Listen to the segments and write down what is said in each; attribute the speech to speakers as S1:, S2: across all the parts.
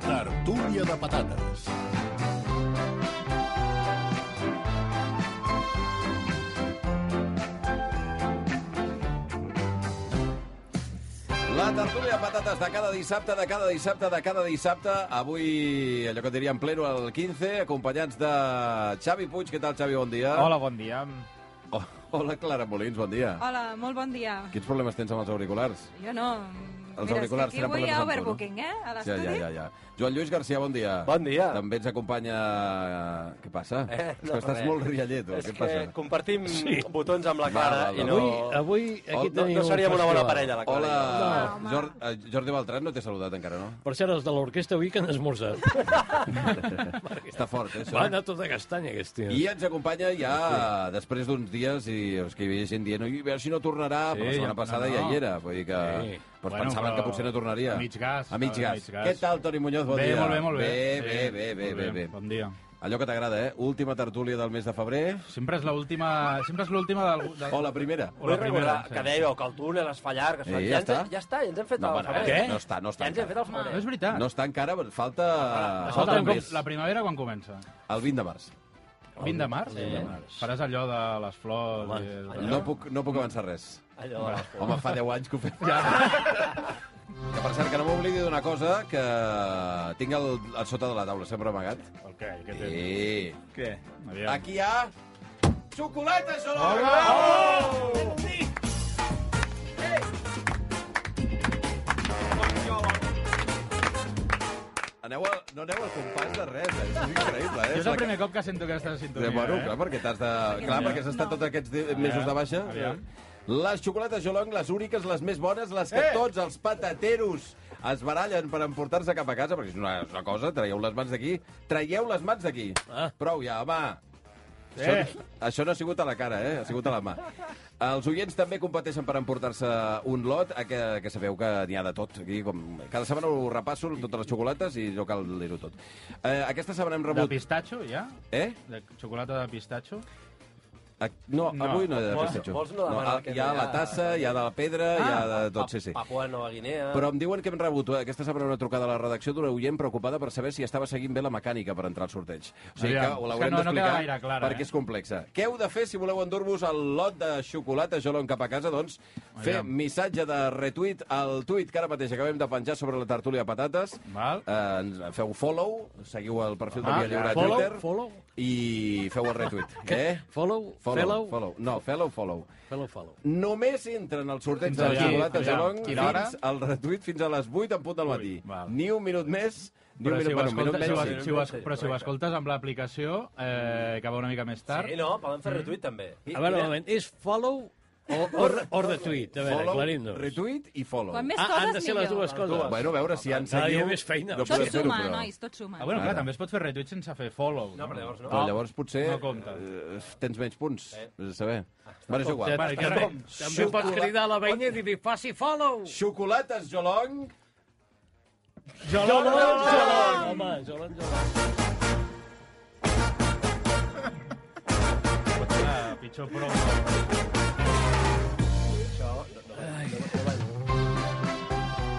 S1: tertúlia de patates.
S2: La tertúlia de patates de cada dissabte, de cada dissabte, de cada dissabte. Avui, allò que et diria en pleno, el 15, acompanyats de Xavi Puig. Què tal, Xavi? Bon dia.
S3: Hola, bon dia.
S2: Oh, hola, Clara Molins, bon dia.
S4: Hola, molt bon dia.
S2: Quins problemes tens amb els auriculars?
S4: Jo no...
S2: Els
S4: Mira, és que
S2: auriculars
S4: aquí
S2: tenen
S4: avui hi
S2: problemes
S4: ha
S2: amb tu,
S4: overbooking, eh? A
S2: Ja,
S4: l'estudi.
S2: ja, ja, ja. Joan Lluís Garcia, bon dia.
S5: Bon dia.
S2: També ens acompanya... Què passa?
S5: Eh,
S2: És que estàs
S5: res.
S2: molt riallet, tu.
S5: És
S2: Què
S5: que
S2: passa?
S5: compartim botons amb la Clara
S2: Val, val,
S5: i no...
S2: val.
S1: eh,
S3: Avui, avui
S2: Oh,
S3: aquí
S2: no-
S5: No,
S3: tenim
S5: no
S3: un
S5: seríem una bona
S3: festival.
S5: parella, la Clara.
S2: Hola,
S4: No, home.
S2: Jordi, eh, Jordi Beltran no t'he saludat encara, no?
S3: Per cert, els de l'orquestra avui que han esmorzat.
S2: Està fort, eh, això?
S3: Va anar tota castanya, aquest tio.
S2: I ens acompanya ja després d'uns dies i és que hi havia gent dient, "Ui, a veure si no tornarà, sí,
S6: Sí,
S2: la setmana
S6: ja-
S2: passada
S6: no,
S2: ja
S6: no.
S2: hi era, vull dir que
S6: Sí.
S2: sí. pues
S6: Bueno,
S2: pensaven
S6: però
S2: que potser no tornaria.
S6: a mig gas,
S2: A mig
S6: a
S2: gas.
S6: mig gas.
S2: Què tal, Toni Muñoz? Bon
S6: bé,
S2: dia.
S6: molt bé, molt bé.
S2: Bé,
S6: Sí,
S2: bé, bé, bé,
S6: molt
S2: bé, bé.
S6: Bon dia.
S2: Allò que t'agrada, eh? Última tertúlia del mes de febrer
S6: Sempre és l'última... Sempre és l'última del... del...
S2: o la primera?
S5: Vull recordar que dèieu que el túnel es fa llarg. Es fa...
S2: Sí,
S5: ja,
S2: ja
S5: ens,
S2: està.
S5: ja està, ja ens hem fet
S2: No,
S5: el
S2: bueno,
S5: febrer.
S2: eh, no està, no
S5: Ja
S2: està.
S5: ens hem fet
S2: encara.
S5: el
S6: No, Ah, és
S5: febrer.
S6: veritat.
S2: No està encara, falta,
S6: Escolta,
S2: falta un
S6: com-
S2: mes.
S6: Ah, la primavera quan comença?
S2: El 20 de març.
S6: El 20 de març? Sí. Faràs allò de les flors...
S5: Home,
S6: i...
S5: allò-
S2: No puc, no puc avançar res.
S5: Allò de les
S2: Home, fa 10 anys que ho fem. Ja. Que, per cert, que no m'oblidi d'una cosa, que tinc el, el sota de la taula sempre amagat.
S6: El què? Què tens?
S2: Sí.
S6: Què? Aviam.
S2: Aquí hi ha... Xocolata, Solana! Aneu a, no aneu al compàs de res, eh? És increïble, eh?
S6: Jo és el primer cop que sento aquesta
S2: De
S6: sintonia,
S2: bueno, clar,
S6: eh?
S2: perquè t'has de... Clar, perquè has estat tots aquests di- mesos de baixa.
S6: Aviam.
S2: Les xocolates Jolong, les úniques, les més bones, les que
S6: Eh!
S2: tots els patateros es barallen per emportar-se cap a casa, perquè és una, és una cosa, traieu les mans d'aquí, traieu les mans d'aquí.
S3: Ah.
S2: Prou ja, home.
S6: Eh!
S2: Això, això no ha sigut a la cara, eh? ha sigut a la mà. Els oients també competeixen per emportar-se un lot, eh, que, que sabeu que n'hi ha de tot. Aquí, com, cada setmana ho repasso amb totes les xocolates i no cal dir-ho tot. Eh, aquesta setmana hem
S6: De
S2: rebut...
S6: pistatxo, ja?
S2: Eh?
S6: De xocolata de pistatxo?
S2: A- No,
S6: No.
S2: avui no hi ha de
S5: Vols-
S2: pistatxo.
S5: vols no demanar
S2: a-
S5: que
S2: ah, hi ha
S5: no hi ha- Ah,
S2: la tassa, hi ha de la pedra, hi ha de tot, sí, sí.
S5: Papua Nova Guinea.
S2: Però em diuen que hem rebut eh, aquesta setmana una trucada a la redacció d'una oient preocupada per saber si estava seguint bé la mecànica per entrar al sorteig. O sigui
S6: Aviam,
S2: que ho
S6: és que
S2: l'haurem
S6: no- no
S2: d'explicar
S6: queda gaire clara,
S2: perquè
S6: eh?
S2: és complexa. Què heu de fer si voleu endur-vos el lot de xocolata Jolon cap a casa? Doncs fer
S6: Aviam.
S2: missatge de retuit al tuit que ara mateix acabem de penjar sobre la tertúlia de patates.
S6: Val.
S2: Eh, ens- feu follow, seguiu el perfil de
S6: Ah,
S2: Via Lliure a
S3: follow,
S2: Twitter
S3: follow.
S2: i feu el retuit. Eh?
S3: Follow,
S2: Follow,
S3: fellow,
S2: follow. No, fellow, follow.
S3: fellow, follow.
S2: Només entren al sorteig
S6: Fins
S2: de la
S6: aviam,
S2: xocolata
S6: aviam.
S2: Jolong
S6: Quina hora?
S2: fins al retuit fins a les 8 en punt del matí.
S6: val.
S2: Ni un minut més, ni un
S6: Però si
S2: minut,
S6: ho,
S2: bueno, un minut
S6: escoltes, si ho,
S2: menys. sí.
S6: si ho, es- però si ho
S5: Correcte.
S6: escoltes amb l'aplicació, eh, que va una mica més tard...
S5: Sí, no, poden fer retuit, també. I-
S3: A veure, un
S5: mira,
S3: moment, és follow o, o, re- o retweet? A veure,
S2: Follow,
S3: aclarim-nos.
S2: retuit i follow.
S4: Quan més
S3: Ah, han de
S4: coses,
S3: ser les
S4: millor.
S3: dues coses.
S2: Bueno, a veure si han
S3: Cada
S2: seguiu...
S3: dia més feina.
S2: No
S3: Tot
S2: podem
S4: Tot
S2: fer-ho,
S4: suma,
S2: però...
S4: nois, tot suma.
S6: Ah, bueno, clar,
S2: Ara.
S6: també es pot fer retuit sense fer follow.
S5: No, però llavors no.
S2: Però llavors potser
S6: No compta. Eh. Ah,
S2: eh, tens menys punts, vés a saber. Bueno, és
S3: Ja,
S2: igual.
S6: Vale,
S3: també,
S6: que res.
S3: també pots cridar a la veïna i dir-li faci follow.
S2: Xocolates Jolong,
S6: Jo
S3: Home, jo l'enjolon.
S6: Ah, pitjor promo.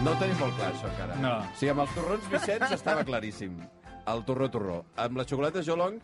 S2: no ho tenim molt clar, això, encara.
S6: No.
S2: O sigui, amb els torrons Vicenç estava claríssim. El torró, torró. Amb les xocolates Jolong,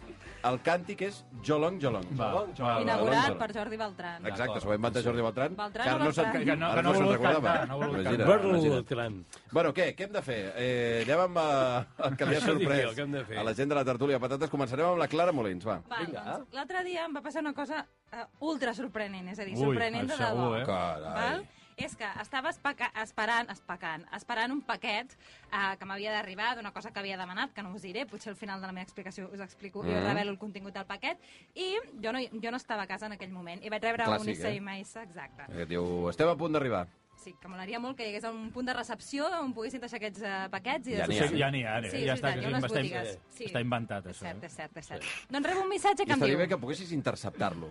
S2: el càntic és Jolong, Jolong.
S6: Va, va, va.
S4: Inaugurat per Jordi Beltran.
S2: Ah, doncs- Exacte, s'ho va inventar Jordi Beltran.
S4: Beltran
S2: que ara
S4: o
S2: no se'n
S4: Beltran?
S6: Que no-
S2: ara
S6: que no
S2: se'n
S6: vol cantar,
S2: recordava.
S6: no vol
S2: Imagina't,
S6: cantar.
S3: Berlo,
S2: imagina't.
S3: tram.
S2: Bueno, què? Què hem de fer? Eh, anem amb eh, el que li ha
S3: Això dic
S2: sorprès
S3: jo, què hem de fer?
S2: a la gent de la tertúlia de patates. Començarem amb la Clara Molins, va.
S4: Va,
S5: Vinga.
S4: doncs, L'altre dia em va passar una cosa eh, ultra sorprenent, és a dir,
S6: Ui,
S4: sorprenent de
S6: això
S4: debò.
S6: ho, eh?
S2: Carai.
S4: Val? És que estava espaca- esperant, espacant, esperant un paquet eh, que m'havia d'arribar d'una cosa que havia demanat, que no us diré, potser al final de la meva explicació us explico i us
S2: Mm.
S4: revelo el contingut del paquet, i jo no, hi- jo no estava a casa en aquell moment, i vaig rebre
S2: Clàssic,
S4: un
S2: eh?
S4: SMS, exacte.
S2: Aquest Eh, diu, estem a punt d'arribar.
S4: Sí, que m'agradaria molt que hi hagués un punt de recepció on poguessin deixar aquests eh, paquets. I
S2: Ja n'hi
S4: després-
S2: ha.
S6: Sí, ja n'hi ha, ja,
S4: Sí,
S6: ja
S4: és
S6: està,
S4: veritat, hi ha
S6: que
S4: unes
S6: està,
S4: botigues. Sí.
S6: està inventat,
S4: És
S6: això.
S4: cert,
S6: eh?
S4: és cert, és cert. Doncs rebo un missatge
S2: I
S4: que em
S2: estaria
S4: diu...
S2: bé que poguessis interceptar-lo,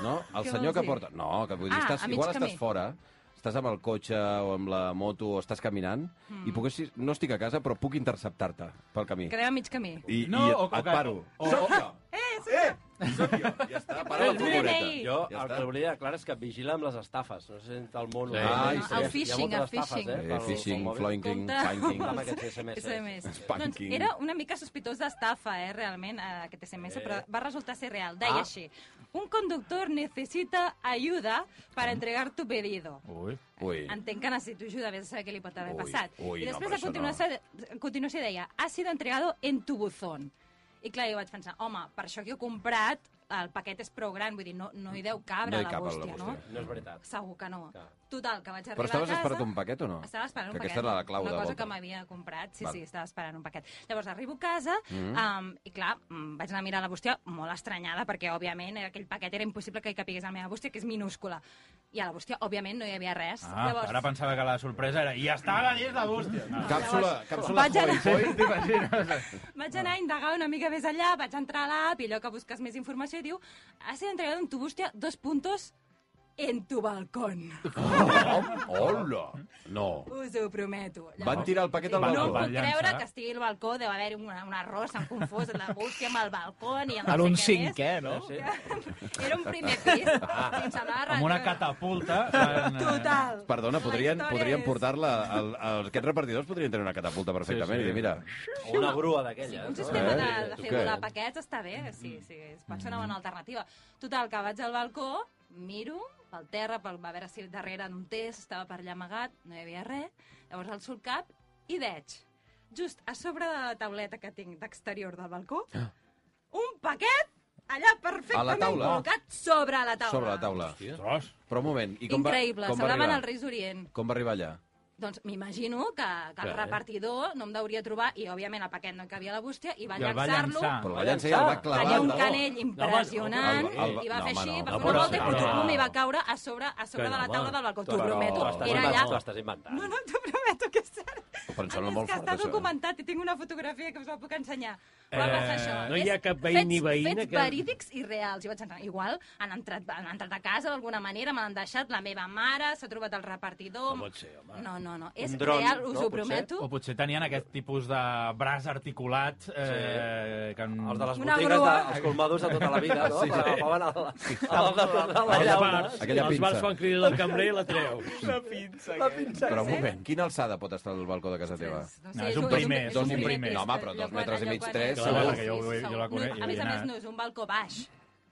S2: no? El
S4: Què
S2: senyor
S4: vols
S2: que
S4: dir?
S2: porta... No, que vull dir,
S4: Ah,
S2: estàs,
S4: a mig
S2: igual
S4: camí.
S2: estàs fora, estàs amb el cotxe o amb la moto o estàs caminant
S4: Mm.
S2: i poguessis... No estic a casa, però puc interceptar-te pel camí.
S4: Quedem a mig camí.
S2: I,
S6: No,
S2: i
S6: o- o
S2: et
S6: que-
S2: paro.
S6: o-
S2: Soc jo! Eh, Soc jo, ja està, para la
S4: El DNI.
S2: furgoneta.
S5: Jo,
S2: Ja
S5: el
S2: està.
S5: que volia aclarar és que vigila amb les estafes. No sé si el món...
S6: Sí.
S2: Ah,
S5: Hi
S2: sí.
S5: ha
S2: El
S5: moltes
S4: phishing, el
S5: estafes,
S4: phishing.
S5: eh,
S2: Eh,
S5: pel- pel
S2: phishing,
S5: mòbil.
S2: floinking,
S4: Compte.
S2: finking...
S5: Amb aquests SMS.
S4: SMS. Doncs
S2: Spanking.
S4: era una mica sospitós d'estafa, eh, realment, eh, aquest SMS, però va resultar ser real. Deia
S5: Ah.
S4: així, un conductor necessita ayuda para entregar tu pedido.
S6: eh? Ui.
S2: Ui.
S4: Entenc que necessito ajuda, vés a saber què li pot haver
S2: Ui,
S4: passat.
S2: ui,
S4: I
S2: no,
S4: després,
S2: però
S4: a,
S2: això
S4: continuació, a continuació deia, ha sido entregado en tu buzón. I clar, jo vaig pensar, home, per això que he comprat, el paquet és prou gran, vull dir, no, no hi deu cabre
S2: No hi
S4: la
S2: cap a la
S4: bústia, no?
S2: bústia.
S5: No és veritat.
S4: Segur que no.
S5: Clar.
S4: Total, que vaig arribar
S2: Però estaves
S4: a casa...
S2: esperant un paquet o no?
S4: Estava
S2: que
S4: esperant un paquet.
S2: Aquesta era la clau
S4: una
S2: de
S4: cosa
S2: volta.
S4: que m'havia comprat, sí,
S2: Val.
S4: sí, estava esperant un paquet. Llavors arribo a casa mm um, i, clar, mm, vaig anar a mirar la bústia molt estranyada perquè, òbviament, eh, aquell paquet era impossible que hi capigués a la meva bústia, que és minúscula. I a la bústia, òbviament, no hi havia res.
S6: Ah,
S4: Llavors,
S6: ara pensava que la sorpresa era... I estava dins la bústia. No.
S2: Càpsula, càpsula
S4: Vaig anar-
S2: Hoi Hoi.
S4: Vaig anar a indagar una mica més allà, vaig entrar a l'app i allò que busques més informació diu ha sido entregado en tu bústia dos puntos en tu balcón.
S2: Hola! No.
S4: Us ho prometo.
S2: Van tirar el paquet al
S6: Van-
S4: No
S2: balcó.
S4: em
S6: van
S4: puc creure
S6: llançar.
S4: que estigui al balcó, deu haver una, una rosa, em confós, la bústia amb el balcó i amb
S1: En un
S4: cinquè.
S3: eh,
S1: cinquè, no?
S5: Sí.
S4: Era un primer pis. Ah. Em semblava
S6: Amb una
S4: radiós.
S6: catapulta. van, eh,
S4: Total.
S2: Perdona,
S4: La
S2: podrien,
S4: història
S2: podrien
S4: és-
S2: portar-la... El, el, aquests repartidors podrien tenir una catapulta perfectament
S6: Sí, sí.
S2: i dir, mira...
S5: O una grua d'aquella.
S4: Un sistema
S2: Eh?
S4: de,
S2: Sí,
S4: de
S2: tu
S4: fer
S2: què?
S4: volar paquets està bé, sí, sí, es pot ser una
S2: Mm.
S4: bona alternativa. Total, que vaig al balcó, miro pel terra, pel, a veure si darrere d'un test estava per allà amagat, no hi havia res, llavors alço el cap i veig, just a sobre de la tauleta que tinc d'exterior del balcó, un paquet allà perfectament
S2: Ah. taula.
S4: col·locat sobre la taula.
S2: Sobre la taula.
S6: Tros.
S2: Però un moment, i com
S4: Increïble,
S2: va, com va
S4: semblaven
S2: arribar?
S4: els Reis d'Orient.
S2: Com va arribar allà?
S4: Doncs m'imagino que, que el
S5: Clar, eh?
S4: repartidor no em deuria trobar, i òbviament el paquet no hi cabia a la bústia, i va
S6: I el va
S4: llançar-lo
S6: llançar.
S2: Però
S5: va
S2: la llança Ah, ja el va
S5: llançar.
S2: clavar.
S4: Tenia un
S2: no?
S4: canell impressionant
S2: El- el-
S4: i va
S2: no,
S4: fer
S2: home,
S4: així,
S2: no.
S4: va
S2: No,
S4: fer una
S2: però
S4: volta i
S2: sí,
S4: potser
S2: no.
S4: i va caure a sobre, a sobre de la taula del balcó. T'ho
S5: Però-
S4: prometo.
S5: T'ho estàs
S4: Era
S5: inventant,
S4: allà.
S5: T'ho estàs inventant.
S4: No, no, t'ho prometo que és cert.
S2: Però em sembla
S4: és
S2: molt
S4: que
S2: fort,
S4: està
S2: això.
S4: documentat i tinc una fotografia que us la puc ensenyar. Va
S1: Eh,
S4: passar això.
S1: no hi ha
S4: És
S1: cap veí ni
S4: fets-
S1: veïna
S4: Fets
S1: que-
S4: verídics i reals. Jo vaig pensar, igual han entrat, han entrat a casa d'alguna manera, me l'han deixat la meva mare, s'ha trobat el repartidor...
S1: No pot ser, home.
S4: No, no, no. És
S5: dron,
S4: real, us
S5: no,
S4: ho
S5: potser?
S4: prometo.
S6: O potser tenien aquest tipus de braç articulat... Eh, que en...
S5: Els de les
S4: Una
S5: botigues,
S4: grua.
S5: de, els colmados de tota la vida, no? Sí, sí. Agafaven el, el, de la, la
S1: Els
S5: llauna.
S1: bars,
S2: Aquella
S1: els
S2: pinça.
S1: bars quan criden el cambrer la treus.
S5: La pinça.
S2: Però un moment, quina alçada pot estar el balcó de casa teva?
S4: eh? Ostres, doncs
S6: No, és un primer, és un primer.
S4: pis,
S2: No, home, però
S4: allò
S2: dos
S4: quan-
S2: metres i
S4: allò
S2: mig,
S4: quan-
S2: tres,
S6: Clar, segur.
S4: sí,
S6: jo- jo- jo la
S4: segur.
S6: conec,
S4: No,
S6: jo
S4: a
S6: hi
S4: més a
S6: he
S4: més,
S6: anat.
S4: no, és un balcó baix,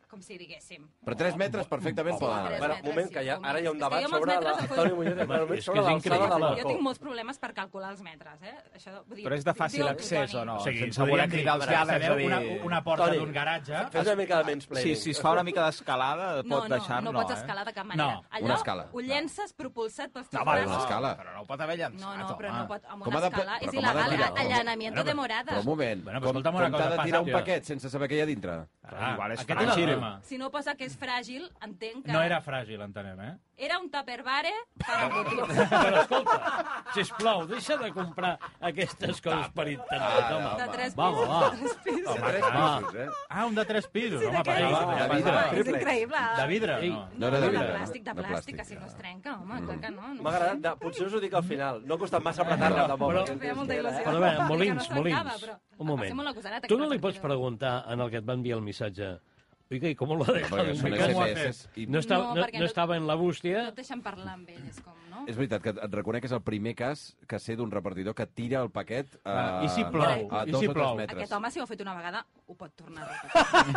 S4: com si diguéssim.
S2: Però 3 metres perfectament poden anar.
S5: Bueno, un moment, que ja, ara hi ha un debat
S4: És que jo amb els
S5: sobre
S4: metres em poso-
S5: l'Antoni Muñoz,
S6: Home,
S5: sobre
S6: és que és
S5: l'alçada
S6: increïble.
S5: del
S4: Jo tinc
S5: balcó.
S4: molts problemes per calcular els metres, eh? Això, vull dir,
S1: Però és de fàcil
S4: diu
S1: accés,
S4: Toni.
S1: o no?
S6: O sigui,
S1: Sense voler
S6: podríem dir,
S1: cridar els lladres, és a dir...
S6: una, una porta
S5: Toni,
S6: d'un garatge...
S5: Fes una mica de mansplaining.
S1: Sí, si es fa una mica d'escalada,
S4: No,
S1: pot
S4: no,
S1: deixar-lo,
S4: no pots escalar de cap manera.
S6: No,
S4: Allò,
S2: una escala.
S4: ho llences propulsat pels teus
S2: No, vale, una
S4: braços.
S2: escala.
S1: Però no ho pot haver llançat,
S4: No, no, però
S1: home.
S4: no pot... Amb
S2: Com
S4: una
S2: ha de-
S4: escala
S2: però
S4: és
S2: com ha de
S4: il·legal.
S2: tirar?
S4: Allanamiento de morada.
S2: Però un moment,
S6: Bueno, però
S2: com,
S6: escolta'm una
S2: com t'ha
S6: cosa,
S2: de tirar un
S6: passa-
S2: paquet sense saber què hi ha dintre?
S6: Clar,
S1: Igual és
S6: aquest és el
S1: fràgil.
S6: problema.
S4: Si no posa que és fràgil, entenc que...
S6: No era fràgil, entenem, eh?
S4: Era un tupperware per embotits.
S1: Però escolta, sisplau, deixa de comprar aquestes coses per internet,
S2: Ara,
S1: home.
S4: De tres
S1: Va,
S4: pisos.
S1: va.
S4: de tres pisos.
S2: Home, tres
S6: clar.
S2: pisos, eh?
S6: Ah, un de tres pisos,
S4: Sí,
S6: home,
S4: d'aquells.
S6: per
S2: Ah,
S6: allà.
S2: de vidre.
S4: Ah, és increïble.
S6: De vidre,
S1: Ei,
S6: no?
S2: No era de
S4: de,
S2: vidre.
S4: plàstic, de, plàstic, que si no es
S2: ja.
S4: trenca, home, clar que no.
S5: M'ha
S4: no.
S5: agradat, de- potser us ho dic al final. No ha costat massa apretar-la, tampoc.
S1: Però-
S5: Perquè
S4: Feia molta il·lusió.
S1: Perdona,
S4: Perquè no
S1: Molins,
S4: s'acaba,
S1: Molins.
S4: però
S1: Un
S4: va ser molt acusada,
S1: moment.
S4: que
S1: Tu
S4: no
S1: no li
S4: t'ha
S1: pots
S4: entrat.
S1: preguntar en el que et va enviar el missatge Oiga, ¿y cómo lo ha dejado
S2: Perquè
S1: en mi
S2: són
S6: Com ho ha
S1: casa?
S6: fet?
S2: SMS i
S1: No, estava,
S4: No,
S1: no, no,
S4: perquè no-
S1: estava en la
S4: No
S1: bústia.
S4: et deixen parlar amb ell, és com, no?
S2: És veritat que et reconec que és el primer cas que sé d'un repartidor que tira el paquet a,
S6: Ah, i si plou?
S2: a
S6: I
S2: dos
S6: si
S2: o tres
S6: plou?
S2: metres.
S4: Aquest home, si ho ha fet una vegada, ho pot tornar a repetir.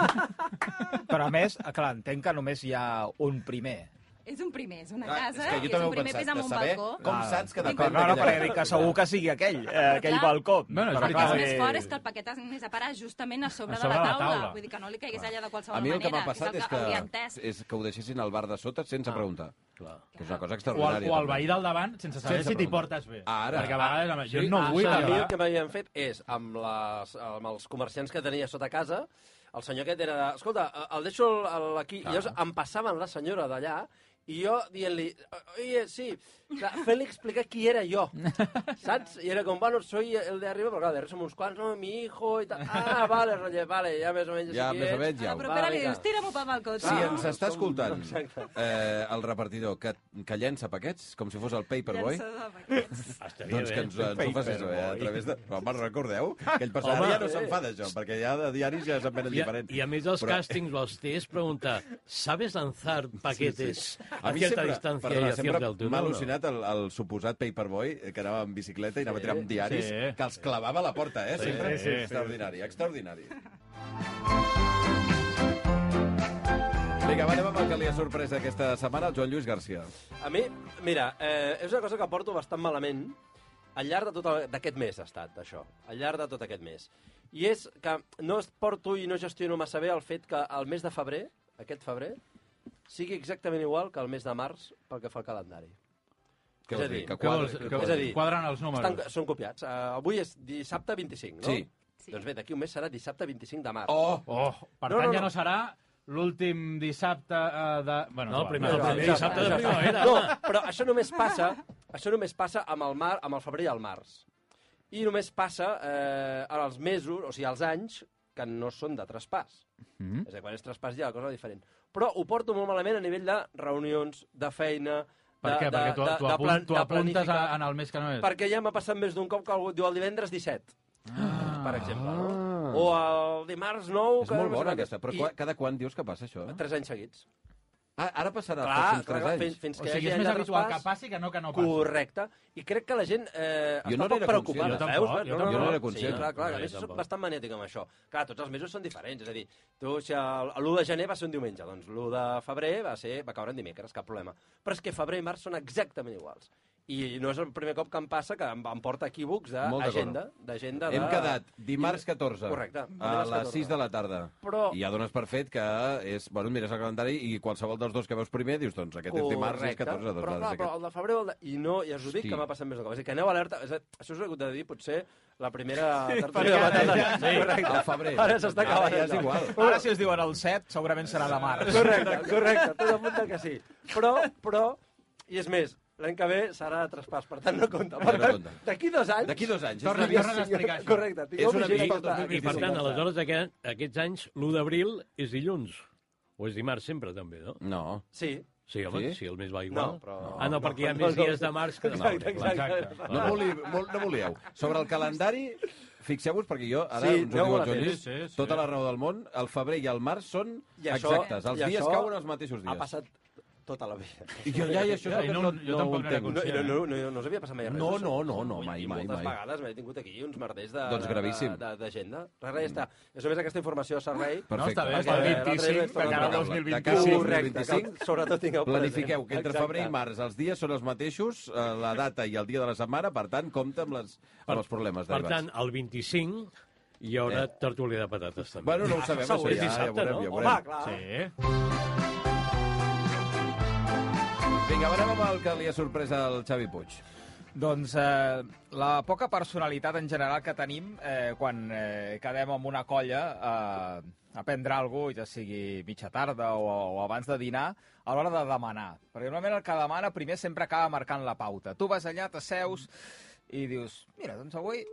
S7: Però a més, clar, entenc que només hi ha un primer.
S4: és un primer, és una
S2: Ah,
S4: casa,
S2: és que
S4: i
S2: jo
S4: és
S2: també
S4: un
S2: ho he
S4: primer
S2: pensat,
S4: pis amb
S2: de
S4: un
S2: saber
S4: balcó.
S2: com saps que depèn
S7: No, no,
S2: d'aquella
S7: perquè dic que segur que sigui aquell, eh, aquell
S4: Clar.
S7: balcó.
S6: Bueno, és
S7: Però
S6: veritat.
S4: El
S7: clar,
S4: més
S7: eh,
S4: fort és que el paquet anés a parar justament a sobre,
S6: A sobre
S4: de la
S6: la
S4: taula.
S6: taula.
S4: Vull dir que no li caigués allà de qualsevol
S2: A mi el que m'ha
S4: manera.
S2: passat és que,
S4: hauria entès.
S2: és que ho deixessin al bar de sota sense preguntar.
S1: Clar.
S2: Que és una cosa
S6: O el,
S2: extraordinària.
S6: o el
S2: també.
S6: veí del davant, sense saber
S2: Sense
S6: si t'hi
S2: preguntar.
S6: portes bé.
S2: Ara.
S6: Perquè a vegades... home, Jo no
S5: Ah,
S6: vull...
S5: A mi el
S6: acabar.
S5: que m'havien fet és, amb, les, amb els comerciants que tenia sota casa, eh, el senyor aquest era de, escolta, el deixo el, el aquí. I "Eh, llavors em passaven la senyora d'allà
S7: I jo dient-li, oye, sí, clar, fent-li explicar qui era jo, saps? I era com, bueno, soy el de arriba, però clar, darrere som uns quants, no, mi hijo i tal. Ah, vale, Roger, vale, ja més o menys
S2: Ja,
S7: sé qui
S2: més o
S7: ets.
S2: menys, ja
S4: A
S2: ho-
S4: la propera
S7: Va,
S4: li
S7: vinga.
S4: dius, tira-m'ho pel balcó.
S2: Si
S4: tu.
S1: Ah.
S2: ens està
S7: som-
S2: escoltant
S7: Exacte.
S2: eh, el repartidor que, que llença paquets, com si fos el Paperboy,
S4: Llançador de paquets.
S1: Estaria
S2: doncs que
S1: bé. eh?
S2: ens, ens ho facis saber a través de... Però, home, recordeu? Aquell passat
S1: Home.
S2: ja no s'enfada, això, perquè ja de diaris ja se'n venen
S1: I a,
S2: diferents.
S1: I a més dels
S2: Però-
S1: càstings o els tests, pregunta, ¿sabes lanzar paquetes sí, sí. a,
S2: mi
S1: cierta
S2: sempre-
S1: distancia
S2: perdona,
S1: i a
S2: sempre
S1: cierta altura?
S2: M'ha
S1: o no?
S2: al·lucinat el, el suposat Paperboy eh, que anava en bicicleta i anava tirant diaris
S5: sí.
S2: que els clavava a la porta, eh? Sempre.
S5: sí, sí.
S2: extraordinari, extraordinari. Vinga, va, anem amb el que li ha sorprès aquesta setmana, el Joan Lluís Garcia.
S7: A mi, mira, eh, és una cosa que porto bastant malament al llarg de tot el- d'aquest mes ha estat, això. Al llarg de tot aquest mes. I és que no es porto i no gestiono massa bé el fet que el mes de febrer, aquest febrer, sigui exactament igual que el mes de març pel que fa al calendari.
S2: Què
S7: És a
S2: vols dir?
S7: dir,
S2: Que
S5: Què
S2: quadra,
S5: vols?
S2: que
S5: Que,
S7: És
S2: quadra.
S7: a dir,
S5: quadren els números.
S7: Estan, són copiats. Uh, avui és dissabte 25, no?
S2: Sí.
S4: Sí.
S7: Doncs bé, d'aquí un mes serà dissabte 25 de març.
S2: Oh!
S5: Oh, per
S7: No,
S5: tant,
S7: no,
S5: ja
S7: no.
S5: no serà l'últim dissabte eh, de... Bueno,
S1: No,
S5: va,
S1: primer-
S5: va,
S1: el primer
S5: va,
S1: dissabte de
S5: va, va.
S1: primavera.
S7: No, però això només passa, això només passa amb el, mar, amb el febrer i el març. I només passa eh, als mesos, o sigui, als anys, que no són de traspàs. Mm
S2: Mhm.
S7: -hmm. És a dir, quan és traspàs ja la cosa diferent. Però ho porto molt malament a nivell de reunions, de feina...
S5: Per
S7: de,
S5: què?
S7: De,
S5: Perquè tu,
S7: de,
S5: tu,
S7: de
S5: apunt,
S7: plan-
S5: tu
S7: de
S5: apuntes a,
S7: planificar.
S5: en el mes que no és.
S7: Perquè ja m'ha passat més d'un cop que algú et diu el divendres 17, ah. per exemple. No? O el dimarts 9...
S2: Ah. És molt bona aquesta, però
S7: I,
S2: I... cada quan dius que passa això?
S7: tres anys seguits.
S2: Ah, ara passarà
S7: Clar,
S2: els pròxims
S7: clar,
S2: 3
S7: clar,
S2: anys.
S7: fins, fins
S5: O
S7: que
S5: sigui,
S7: hi
S5: és
S7: hagi
S5: més
S7: el
S5: habitual que
S7: traspàs,
S5: passi que no que no passi.
S7: Correcte. I crec que la gent eh,
S2: Jo
S7: està
S2: no
S7: poc
S2: n'era
S7: preocupada,
S2: conscient.
S5: Jo
S7: veus?
S5: tampoc, jo
S2: no n'era
S7: Sí,
S2: conscient.
S7: clar, clar,
S1: No,
S7: a
S1: jo
S7: més soc
S1: tampoc.
S7: bastant maniàtic amb això. Clar, tots els mesos són diferents, és a dir, tu, si el- l'1 de gener va ser un diumenge, doncs l'1 de febrer va, ser, va caure en dimecres, cap problema. Però és que febrer i març són exactament iguals. I no és el primer cop que em passa que em, em porta equívocs
S5: eh,
S2: Molt d'acord.
S7: d'agenda. d'agenda
S2: Hem
S7: de-
S2: quedat dimarts 14
S7: Correcte,
S2: a
S7: dimarts
S2: les
S7: 14.
S2: 6 de la tarda.
S7: Però-
S2: I ja dones per fet que és... Bueno, mires el calendari i qualsevol dels dos que veus primer dius, doncs, aquest és dimarts i és 14. Doncs,
S7: però,
S2: va,
S7: clar,
S2: des
S7: però
S2: d'aquest-
S7: el de febrer o el de... I no, ja us ho dic,
S2: Hosti.
S7: que m'ha passat més de cop. És a dir, que aneu alerta. És a... Això us ho he hagut de dir, potser, la primera
S2: perquè
S7: tertúlia de
S2: ara
S7: batalla.
S2: ja- sí, al febrer.
S7: Ara s'està
S2: Ara
S7: acabant.
S2: ja és
S7: això.
S2: igual.
S6: Ara, si us diuen el 7, segurament serà la març.
S7: Correcte, correcte. Tot apunta que sí. Però, però, i és més, l'any que ve serà de traspàs. Per tant, no compta. Per
S2: No
S7: tant,
S2: compta.
S7: d'aquí dos anys...
S2: D'aquí dos anys.
S5: Torna-
S2: és una-
S5: torna a explicar això.
S7: Correcte.
S2: És una
S7: vigent
S2: mica
S7: aquesta-
S2: el
S1: I, per
S7: aquesta-
S1: tant, aleshores, aquest, aquests anys, l'1 d'abril és dilluns. O és dimarts sempre, també, no?
S2: No.
S7: Sí.
S1: Sí, home,
S2: Sí?
S1: sí? si el mes va igual.
S7: No, però-
S1: Ah, no, perquè hi ha més dies de març que de maig.
S7: Exacte, exacte.
S2: No,
S1: Ah.
S2: voli, vol, no volieu. Sobre el calendari, fixeu-vos, perquè jo, ara
S7: Sí,
S2: ens ho diu
S7: aneu
S2: el
S7: a
S2: Joan
S7: la tele.
S2: Lluís,
S5: Sí, sí.
S2: tota la raó del món, el febrer i el març són
S7: I això-
S2: exactes. Els
S7: i
S2: dies
S7: això
S2: cauen els mateixos
S7: Ha
S2: dies.
S7: passat tota la vida.
S2: I jo ja, i això és el
S5: I
S2: que
S5: no-
S2: no,
S5: jo
S2: no ho
S5: tampoc n'era
S2: entenc.
S7: No,
S5: conscient.
S7: no, no, no, no us havia passat mai res.
S2: No,
S7: d'això?
S2: no, no, no,
S7: Ui,
S2: mai,
S7: i
S2: mai,
S7: Moltes
S2: mai.
S7: vegades m'he tingut aquí uns merders de...
S2: Doncs gravíssim.
S7: de- de- D'agenda. Res, res, ja està. És només aquesta informació de servei.
S2: Per- Perfecte.
S7: Perquè
S5: No, està bé,
S7: l'altre dia vaig
S5: 25, de cara al
S2: parlar.
S5: 2025.
S2: De cara al
S7: Correcte,
S2: 25.
S7: que sobretot tingueu present.
S2: Planifiqueu que entre
S7: Exacte.
S2: febrer i març els dies són els mateixos, eh, la data i el dia de la setmana, per tant, compta amb, les, amb els problemes
S1: Per
S2: derivats.
S1: tant, el 25 hi haurà
S2: Eh.
S1: tertúlia de patates, també.
S2: bueno, no ho sabem, això
S1: segur,
S2: ja, ja
S1: dissabte,
S2: veurem,
S1: no?
S2: ja
S7: Home,
S2: veurem.
S7: Ah, clar. Sí.
S5: Sí.
S2: Vinga, anem amb el que li ha sorprès al Xavi Puig.
S6: Doncs eh, la poca personalitat en general que tenim eh, quan eh, quedem amb una colla eh, a prendre alguna cosa, ja sigui mitja tarda o, o abans de dinar, a l'hora de demanar. Perquè normalment el que demana primer sempre acaba marcant la pauta. Tu vas allà, t'asseus i dius, mira, doncs avui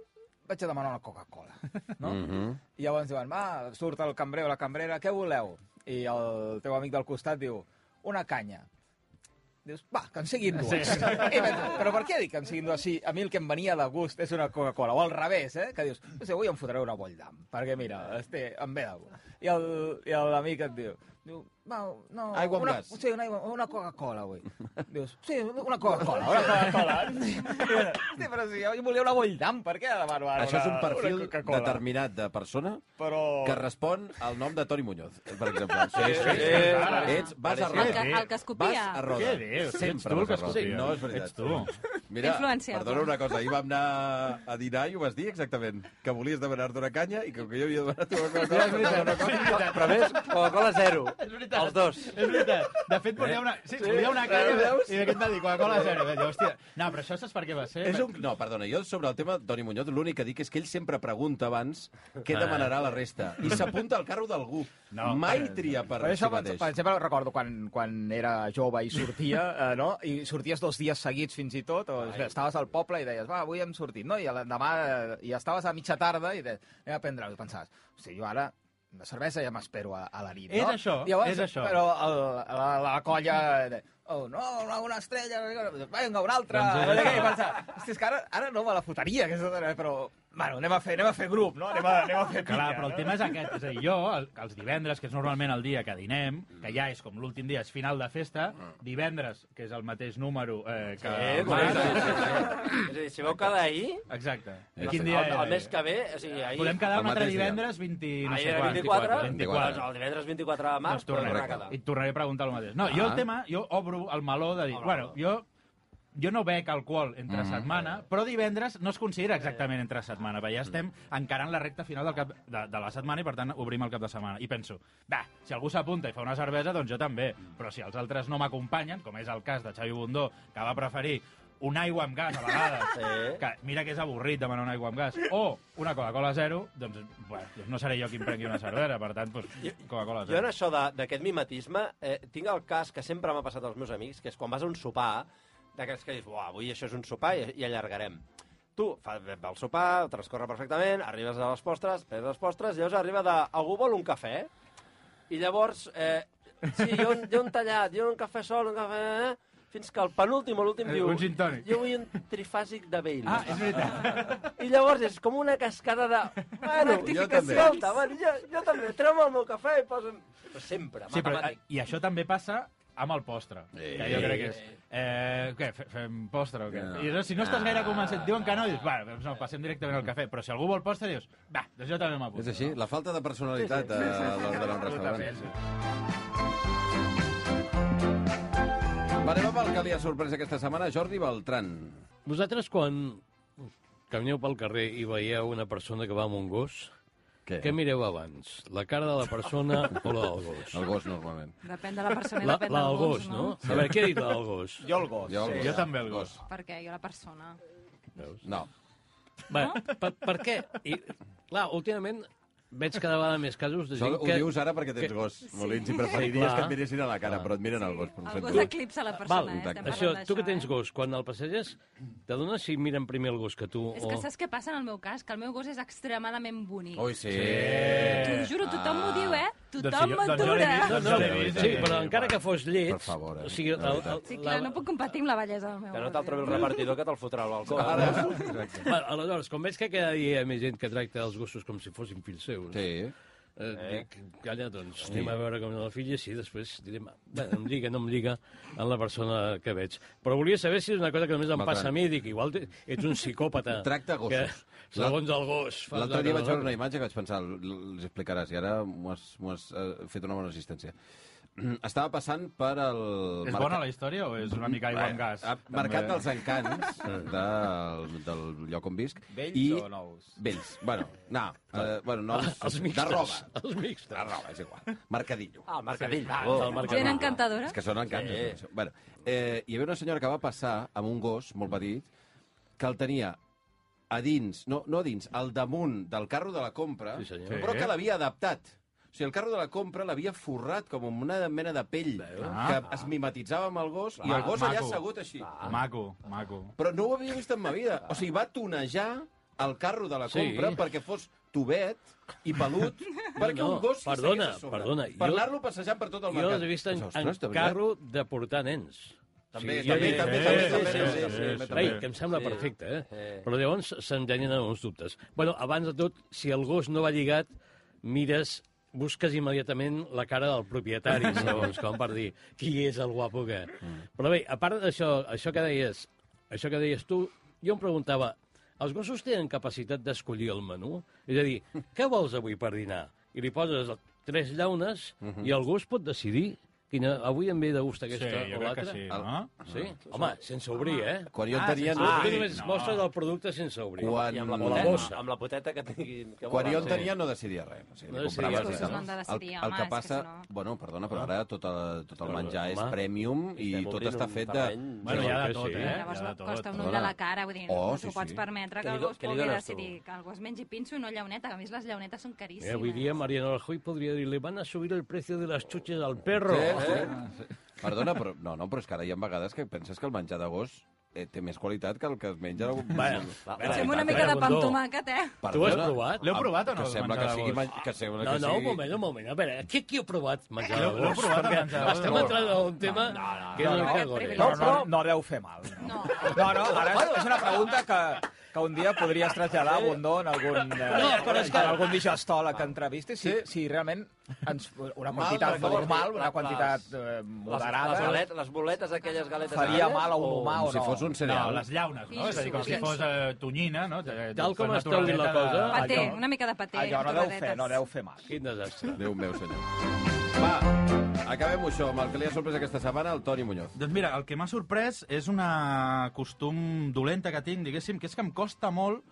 S6: vaig a demanar una Coca-Cola, no? Mm
S2: Mhm.
S6: -hmm. I llavors diuen, va, surt el cambrer o la cambrera, què voleu? I el teu amic del costat diu, una canya. Dius, va, que en siguin dues. Sí. I vaig dir, però per què dic que en siguin dues? Sí, a mi el que em venia de gust és una Coca-Cola. O al revés, eh? Que dius, no sé, avui em fotré una boll d'am, perquè mira, este, em ve de gust. I el- I l'amic et diu, diu, va, no...
S2: Aigua amb
S6: una,
S2: gas.
S6: Sí, una, aigua- una Coca-Cola, avui. Dius, sí, una Coca-Cola, una Coca-Cola. Hosti, però si jo volia una boll d'am, per què demano ara
S2: Això és un
S6: una-
S2: perfil
S6: una Coca-Cola?
S2: determinat de persona
S6: Però...
S2: que respon al nom de Toni Muñoz, per exemple. Sí,
S7: sí, sí.
S2: Ets, vas a
S7: El
S2: roda.
S4: que- el que escopia.
S2: Vas a roda.
S5: Què dius? Ets
S2: Sempre
S5: tu el
S2: vas a
S5: que
S2: roda.
S5: escopia.
S2: No, és veritat.
S5: Ets tu.
S2: Mira,
S4: Influenciable.
S2: perdona una cosa, ahir vam anar a dinar i ho vas dir exactament, que volies demanar-te una canya i que, el que jo havia demanat una cosa, una cosa, una cosa,
S7: Però a més, Coca-Cola zero.
S6: veritat.
S5: Els dos.
S6: És veritat. De fet, volia una... Sí, volia una
S5: Ara
S6: cara
S5: veus?
S6: i aquest va dir Coca-Cola zero. Vaig dir, hòstia, no, però això saps per què va ser?
S2: És un... No, perdona, jo sobre el tema Toni Muñoz l'únic que dic és que ell sempre pregunta abans què demanarà la resta i s'apunta al carro d'algú.
S6: No,
S2: Mai tria per
S7: Per això,
S2: si
S7: per,
S2: mateix.
S7: per exemple, recordo quan, quan era jove i sortia, eh, no? I sorties dos dies seguits, fins i tot, o Ai. estaves al poble i deies, va, avui hem sortit, no? I l'endemà eh, i estaves a mitja tarda i deies, anem a prendre algo. I pensaves, hosti, jo ara una cervesa ja m'espero a, a la nit, no?
S6: És això, és això.
S7: Però el, la, la colla... De, oh, no, una, una estrella, vinga, una altra...
S6: Doncs és
S7: Doncs
S6: això.
S7: I pensava, hosti, és que ara, ara no me la fotria, aquesta, però... Bueno, anem a fer, anem a fer grup, no? Anem a, anem a fer pinya,
S6: Clar, però el
S7: no?
S6: tema és aquest. És a dir, jo, el, els divendres, que és normalment el dia que dinem, que ja és com l'últim dia, és final de festa, divendres, que és el mateix número eh, que...
S5: Eh,
S6: el
S5: correcte,
S6: març-
S5: Ah. sí, sí, sí. És a dir, si vau quedar ahir,
S6: Exacte.
S5: el,
S6: Quin
S5: el,
S6: dia era?
S5: el mes que ve, o sigui, ahir...
S6: eh, Podem quedar
S2: El
S6: un altre
S2: mateix dia.
S6: divendres 20... No
S5: ahir
S6: sé
S5: era
S6: quan,
S5: 24,
S2: 24.
S5: doncs el divendres 24 de març
S6: Doncs tornem.
S5: podem anar a
S2: Correcte.
S5: quedar.
S6: I et tornaré a preguntar el mateix. No, jo el
S2: Ah.
S6: tema, jo obro el meló de dir,
S5: Obre el
S6: bueno,
S5: meló. Mm.
S6: jo jo no bec alcohol entre setmana, però divendres no es considera exactament entre setmana, perquè ja
S5: Mm.
S6: estem encarant la recta final del cap de, de la setmana i, per tant, obrim el cap de setmana. I penso, va, si algú s'apunta i fa una cervesa, doncs jo també.
S5: Mm.
S6: Però si els altres no m'acompanyen, com és el cas de Xavi Bundó, que va preferir una aigua amb gas a vegades,
S5: Sí.
S6: que mira que és avorrit demanar una aigua amb gas, o una Coca-Cola zero, doncs, bueno, doncs no seré jo qui em prengui una cervesa, per tant, doncs, Coca-Cola
S5: Jo en
S6: zero.
S5: això de- d'aquest mimetisme eh, tinc el cas que sempre m'ha passat als meus amics, que és quan vas a un sopar, d'aquests que dius, buah, avui això és un sopar i, i allargarem. Tu fa, va al sopar, transcorre perfectament, arribes a les postres, prens les postres, llavors arriba de... Algú vol un cafè? I llavors, eh, sí, jo, un- jo un tallat, jo un cafè sol, un cafè... eh, Fins que el penúltim o l'últim
S6: Eh,
S5: diu...
S6: un gin tònic.
S5: Jo vull un trifàsic de Baileys.
S6: Ah, és veritat.
S5: I llavors és com una cascada de... Bueno,
S2: Jo també.
S5: Escolta, bueno, jo, jo també. Treu el meu cafè i posa'm... Però eh, sempre,
S6: Sí, però, eh,
S5: matemàtic.
S6: I això també passa amb el postre.
S2: Eh.
S6: que jo crec que és... Eh, què, fe- fem postre o què?
S2: No.
S6: I llavors, si no estàs gaire convençut, et diuen que no, i dius, bueno, doncs no, passem directament al cafè. Però si algú vol postre, dius, va, doncs jo també m'apunto.
S2: És així? La falta de personalitat a l'hora d'anar a un restaurant. Va, anem amb el que li ha sorprès aquesta setmana, Jordi Beltran.
S1: Vosaltres, quan camineu pel carrer i veieu una persona que va amb un gos,
S2: Què?
S1: què mireu abans? La cara de la persona o la del gos?
S2: El gos, normalment.
S4: Depèn de la persona i
S1: La,
S4: depèn
S1: la
S4: del
S1: del gos, no? A veure, què ha dit la del gos?
S7: Jo el gos.
S2: el
S6: Jo també el gos.
S4: Perquè jo la persona.
S2: No.
S1: Bé, per, per què? I, clar, últimament veig cada vegada més casos de
S2: Això
S1: gent
S2: ho
S1: que...
S2: dius ara perquè tens
S1: que-
S2: gos. Molins, i preferiries
S1: clar.
S2: que et miressin a la cara, però et miren al gos. però ho
S4: El
S2: sento.
S4: gos eclipsa la persona, eh?
S2: Exacte.
S4: Estem
S1: Això,
S4: parlant
S1: tu que
S4: d'això,
S1: tens
S4: eh?
S1: gos, quan el passeges, t'adones si miren primer el gos que tu?
S4: És que saps què passa en el meu cas? Que el meu gos és extremadament bonic.
S2: Ui, sí.
S4: T'ho juro, tothom m'ho diu, eh?
S6: Doncs si
S4: Tothom
S6: jo- doncs jo l'he
S4: m'atura.
S6: vist, doncs
S1: No,
S6: jo l'he
S1: sí,
S6: vist.
S1: sí, però encara que fos lleig...
S2: Per favor, eh?
S1: O sigui,
S2: De
S1: el, el,
S2: veritat.
S4: Sí, clar, no puc competir amb la bellesa del meu
S5: Que no
S4: gos, eh?
S5: te'l trobi el repartidor que te'l fotrà al balcó.
S2: Ara,
S1: Bueno, aleshores, com veig que cada dia hi ha més gent que tracta els gossos com si fossin fills seus,
S2: sí.
S1: eh, dic, calla, doncs anem a veure com és la filla, sí, després direm, ah, bé, em lliga, no em lliga en la persona que veig. Però volia saber si és una cosa que només em
S2: Beltran.
S1: passa a mi, dic, igual te- ets un psicòpata.
S2: Tracta gossos.
S1: Que, segons el gos. fas
S2: L'altre dia
S1: una
S2: vaig
S1: cosa.
S2: veure una imatge que vaig pensar, l- l- els explicaràs, i ara m'ho has, m'ho has eh, fet una bona assistència. Estava passant per el...
S6: És bona la història o és una mica aigua amb gas?
S2: Ah, Mercat
S6: També.
S2: dels encants del, del lloc on visc.
S7: Vells
S2: i...
S7: o nous?
S2: Vells. Bueno, no. Eh, bueno, nous
S1: Els
S2: de
S1: mixtos.
S2: roba.
S1: Els mixtos.
S2: De roba, és igual. Mercadillo. Oh,
S5: Ah, el mercadell. va.
S1: Del mercat.
S4: Gent encantadora.
S2: És que són encants.
S5: Sí.
S2: Sí. Bueno, eh, hi havia una senyora que va passar amb un gos molt petit que el tenia a dins, no, no a dins, al damunt del carro de la compra,
S1: Sí, senyor.
S2: però
S6: Sí.
S2: que l'havia adaptat. O sigui, el carro de la compra l'havia forrat com amb una mena de pell
S6: Ah.
S2: que es mimetitzava amb el gos i
S6: Ah,
S2: el gos allà
S6: maco. Ah.
S2: assegut així.
S6: Maco, maco.
S2: Però no ho havia vist en ma vida. O sigui, va tonejar el carro de la
S1: Sí.
S2: compra perquè fos tubet i pelut perquè
S1: no,
S2: un gos li
S1: perdona,
S2: seguís a sobre.
S1: perdona,
S2: Per
S1: jo-
S2: anar-lo passejant per tot el
S1: Jo
S2: mercat.
S1: els he vist en,
S2: Ostres,
S1: en
S2: de veritat?
S1: carro de portar nens.
S2: També,
S1: Sí,
S2: també,
S1: sí,
S2: també, també,
S1: sí, sí,
S2: també,
S1: sí,
S2: també,
S1: sí,
S2: també,
S1: sí,
S2: també,
S1: sí.
S2: també.
S1: Ei, que em sembla
S5: Sí.
S1: perfecte, eh?
S5: Sí.
S1: Però llavors se'n genen uns dubtes. Bueno, abans de tot, si el gos no va lligat, mires busques immediatament la cara del propietari, segons com per dir qui és el guapo que...
S5: Mm.
S1: Però bé, a part d'això, això que deies, això que deies tu, jo em preguntava, els gossos tenen capacitat d'escollir el menú? És a dir,
S5: Mhm.
S1: què vols avui per dinar? I li poses tres llaunes i el gos pot decidir Quina... Avui em ve de gust aquesta
S6: Sí, jo
S1: o
S6: crec que
S1: l'altra?
S6: sí, no?
S1: Sí?
S5: Ah,
S1: Home, sense obrir, eh?
S2: Quan jo en
S6: Ah,
S2: tenia...
S6: sí,
S1: Ah,
S6: sí.
S1: tu només
S6: no.
S1: mostres el producte sense obrir.
S2: Quan,
S5: I amb la,
S1: O la
S5: poteta,
S1: bossa.
S5: amb la poteta que tinguin... Que
S2: Quan jo en
S5: volen.
S2: tenia no decidia res. O sigui,
S1: No
S2: li compraves i
S1: decidies
S2: tal.
S1: res, no
S4: han de decidir,
S2: el,
S4: home,
S2: el que
S4: és que
S2: passa...
S4: si no-
S2: Bueno, perdona, però ara tot el, tot el
S1: Però,
S2: menjar és
S1: home,
S2: premium i
S5: Estem
S2: tot
S5: obrint
S2: està
S5: un
S2: fet de...
S5: terreny.
S6: Bueno,
S1: Sí,
S6: hi ha
S1: que
S6: de tot,
S1: sí.
S6: eh?
S4: Llavors
S6: Hi ha de tot.
S4: costa un ull
S2: Perdona.
S4: de la cara, vull dir,
S2: Oh,
S4: no
S2: sí,
S4: t'ho pots
S2: sí.
S4: permetre
S5: Què
S4: que
S5: li do-
S4: algú es
S5: què li
S4: pugui
S5: dones tu?
S4: decidir que algú es mengi pinso i no llauneta, que a mi les llaunetes són caríssimes.
S1: Eh, avui dia Mariano Rajoy podria dir le van a subir el precio de las chuches al perro.
S2: Sí, sí. Eh? Perdona, però, no, no, però és que ara hi ha vegades que penses que el menjar d'agost eh, té més qualitat que el que es menja...
S1: Bueno,
S5: Va,
S1: Ara,
S4: Fem
S1: i
S4: una
S1: tant,
S4: mica
S1: ara,
S4: de pa amb
S1: Gondó.
S4: tomàquet, eh?
S1: Tu has provat?
S6: L'heu provat o no,
S2: Que
S6: el
S2: sembla que
S6: menjar
S2: sigui...
S6: d'agost?
S2: men- Que sembla
S1: No,
S2: que
S1: no, un
S2: sigui...
S1: moment, un moment. A veure, qui, qui ha provat menjar
S6: L'heu-
S1: d'agost?
S6: l'heu provat, el
S1: Perquè
S6: menjar d'agost?
S1: estem
S6: No.
S1: entrant en un tema que és
S7: no,
S1: un
S7: no.
S1: cagore.
S7: Però no,
S5: però-
S7: no deu fer mal.
S4: No.
S7: No, no, ara és, és una pregunta que, que un dia podries traslladar a Bondó en algun, eh, no, però és que... en algun digestol que entrevistis, si, si realment ens, una quantitat
S5: per favor,
S7: normal, una
S5: les-
S7: quantitat eh,
S5: Les,
S7: moderada,
S5: les, boletes, les boletes, aquelles galetes...
S7: faria
S5: aquelles,
S7: mal a un
S5: eh, o-
S7: humà
S2: Com
S7: o
S2: si
S7: no?
S2: fos un
S6: No,
S2: cereal.
S6: les llaunes, no? És a dir, com si
S4: Pinso.
S6: fos eh, tonyina, no?
S1: Tal com està obrint la cosa,
S6: Ah,
S4: Paté, una mica de paté.
S7: Allò no deu
S4: torradetes.
S7: fer, no deu fer mal.
S1: Quin desastre.
S2: Déu meu, senyor. Va, acabem això amb el que li ha sorprès aquesta setmana, el Toni Muñoz.
S6: Doncs mira, el que m'ha sorprès és una costum dolenta que tinc, diguéssim, que és que em costa molt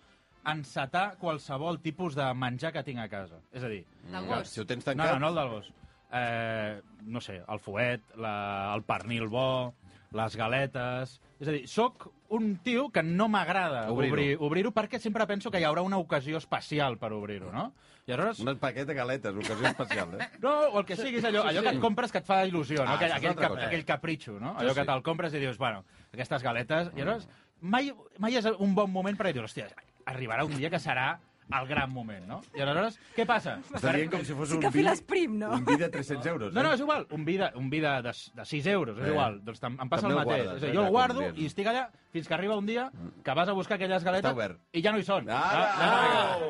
S6: encetar qualsevol tipus de menjar que tinc a casa. És a dir,
S4: Del
S2: Ja,
S4: gos.
S2: Si ho tens
S6: no, no,
S2: tancat...
S6: no el del gos. Eh, no sé, el fuet, la, el pernil bo, les galetes... És a dir, sóc un tio que no m'agrada
S2: Obrir-ho.
S6: obrir-ho obrir obrir-ho perquè sempre penso que hi haurà una ocasió especial per obrir-ho, no? I aleshores,
S2: Un paquet de galetes, ocasió especial, eh?
S6: no, o el que sigui, és allò, allò que et compres que et fa il·lusió,
S2: Ah,
S6: no? aquell,
S2: això és
S6: aquell,
S2: altra
S6: cap,
S2: cosa.
S6: aquell capritxo, no? Allò
S2: Sí, Mm.
S6: que
S2: sí.
S6: te'l compres i dius, bueno, aquestes galetes... I llavors, mai, mai és un bon moment per dir, hòstia, arribarà un dia que serà el gran moment, no? I aleshores, què passa?
S2: Està dient com si fos
S4: Sí
S2: un
S4: que
S2: vi,
S4: files prim, no?
S2: un vi de 300 euros.
S6: No, no,
S2: eh?
S6: és igual. Un vi de, un vi de, de, de 6 euros, és
S2: Eh.
S6: igual. Doncs tam, em passa
S2: També
S6: el
S2: el
S6: mateix.
S2: guardes,
S6: és a dir,
S2: eh,
S6: jo
S2: ja,
S6: el guardo
S2: com dient.
S6: i estic allà fins que arriba un dia que vas a buscar aquelles galetes
S2: obert.
S6: i ja no hi són.
S2: Ara!
S6: Ah, no.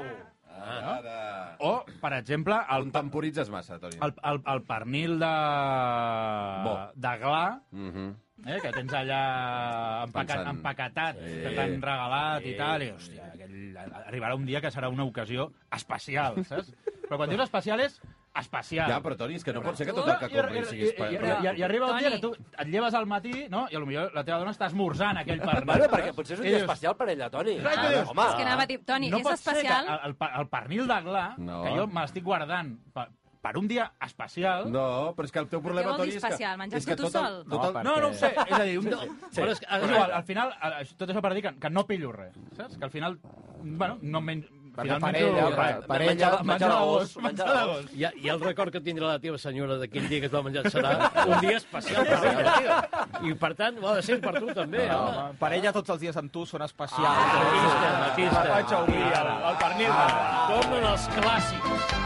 S2: Ara, ara.
S6: O, per exemple, el,
S2: On temporitzes massa, Toni.
S6: el, el, el pernil de...
S2: Bo.
S6: de glà,
S2: Mhm.
S6: eh, que tens allà empacat,
S2: Pensant.
S6: empaquetat,
S2: Sí.
S6: que t'han regalat i tal, i hòstia, aquell, arribarà un dia que serà una ocasió especial, saps? Però quan dius especial és especial.
S2: Ja, però Toni, és que no pot ser que tot
S6: No,
S2: el que
S6: i-
S2: compris
S6: i-
S2: sigui...
S6: i- i- i- I, i arriba un dia que tu et lleves al matí, no?, i potser la teva dona està esmorzant aquell pernil.
S5: Bueno, perquè
S6: saps?
S5: potser és un
S6: I
S5: dia
S6: dius,
S5: especial per ella, Toni.
S6: Clar, i dius,
S5: Ah, home,
S4: És que anava a dir, Toni,
S6: no
S4: és
S6: pot
S4: especial...
S6: ser que el, el, el pernil de gla,
S2: No.
S6: que jo m'estic guardant per, per un dia especial...
S2: No, però és que el teu problema,
S4: vol dir
S2: Toni, és que...
S4: especial? Menjar-te
S2: és que
S4: tu
S2: tot el-
S4: sol?
S2: Tot el,
S7: No,
S6: No, no ho sé, és a dir, un... sí. però és que, és
S2: Correcte.
S6: igual, al final, a- a- tot això per dir que, que no pillo res, saps? Que al final, bueno, no menjo... Finalment,
S7: parella,
S6: jo-
S7: pa-
S6: menjar-
S7: parella,
S5: menjar
S6: menjar de gos,
S5: d'agost,
S6: menjar
S5: menjar
S6: de gos.
S1: I, I el record que tindrà la teva senyora d'aquell dia que es va menjar serà un dia especial per ella, tio. I, per tant, ho ha de ser per tu també,
S7: No,
S1: home.
S7: per ella tots els dies amb tu són especials.
S1: Matista,
S7: Ah,
S1: Matista.
S7: vaig a obrir el, el pernil.
S1: Tornen els clàssics.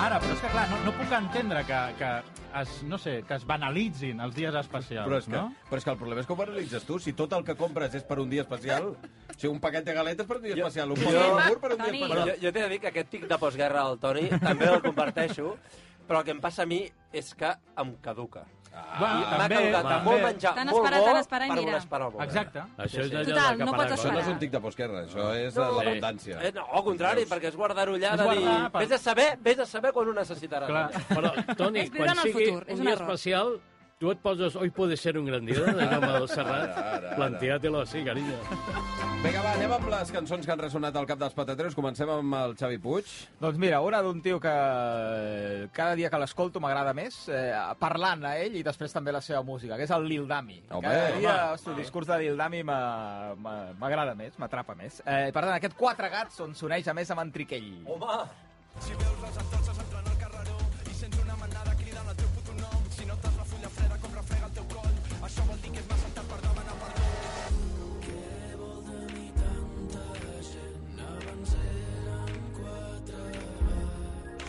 S6: Ara, però és que clar, no, no puc entendre que, que es, no sé, que es banalitzin els dies especials,
S2: Però és, que,
S6: no?
S2: però és que el problema és com ho analitzes tu. Si tot el que compres és per un dia especial, o sigui, un paquet de galetes per un dia especial, un
S5: jo-
S2: pot de iogurt per un dia
S4: Toni.
S5: Però...
S2: especial...
S5: Jo, jo t'he de dir que aquest tic de postguerra del Toni també el comparteixo, però el que em passa a mi és que em caduca.
S2: Ah,
S6: Va,
S7: Ah,
S5: I M'ha caducat de molt menjar,
S4: Tant
S5: molt
S4: esperar,
S5: bo,
S4: tant esperar,
S5: per
S4: mira.
S5: un esperar molt.
S6: Exacte.
S1: Això és allò
S4: Total,
S1: de
S4: no pots
S2: Això no
S1: caparacol.
S2: és un tic de postguerra, això és
S5: No.
S2: no, l'abundància.
S5: Eh, no, al contrari, perquè és guardar-ho allà de dir...
S6: guardar per-
S5: Vés a saber, vés a saber quan ho necessitaràs.
S6: Clar.
S1: Però, Toni,
S4: És viure
S1: quan
S4: en el
S1: sigui
S4: futur, és
S1: un
S4: un
S1: dia
S4: error.
S1: especial, tu et poses Hoy puede ser un gran dia, de com el Serrat.
S2: Ara, ara, ara.
S1: Planteatelo així, carinyo.
S2: Vinga, va, anem amb les cançons que han ressonat al cap dels patateros. Comencem amb el Xavi Puig.
S7: Doncs mira, una d'un tio que eh, cada dia que l'escolto m'agrada més, eh, parlant a ell i després també la seva música, que és el Lil Dami.
S2: Home,
S7: cada dia
S2: home.
S7: el discurs de Lil Dami m'a- m'a- m'agrada més, m'atrapa més. Eh, per tant, aquest Quatre Gats on s'uneix a més amb en Triquell.
S5: Home,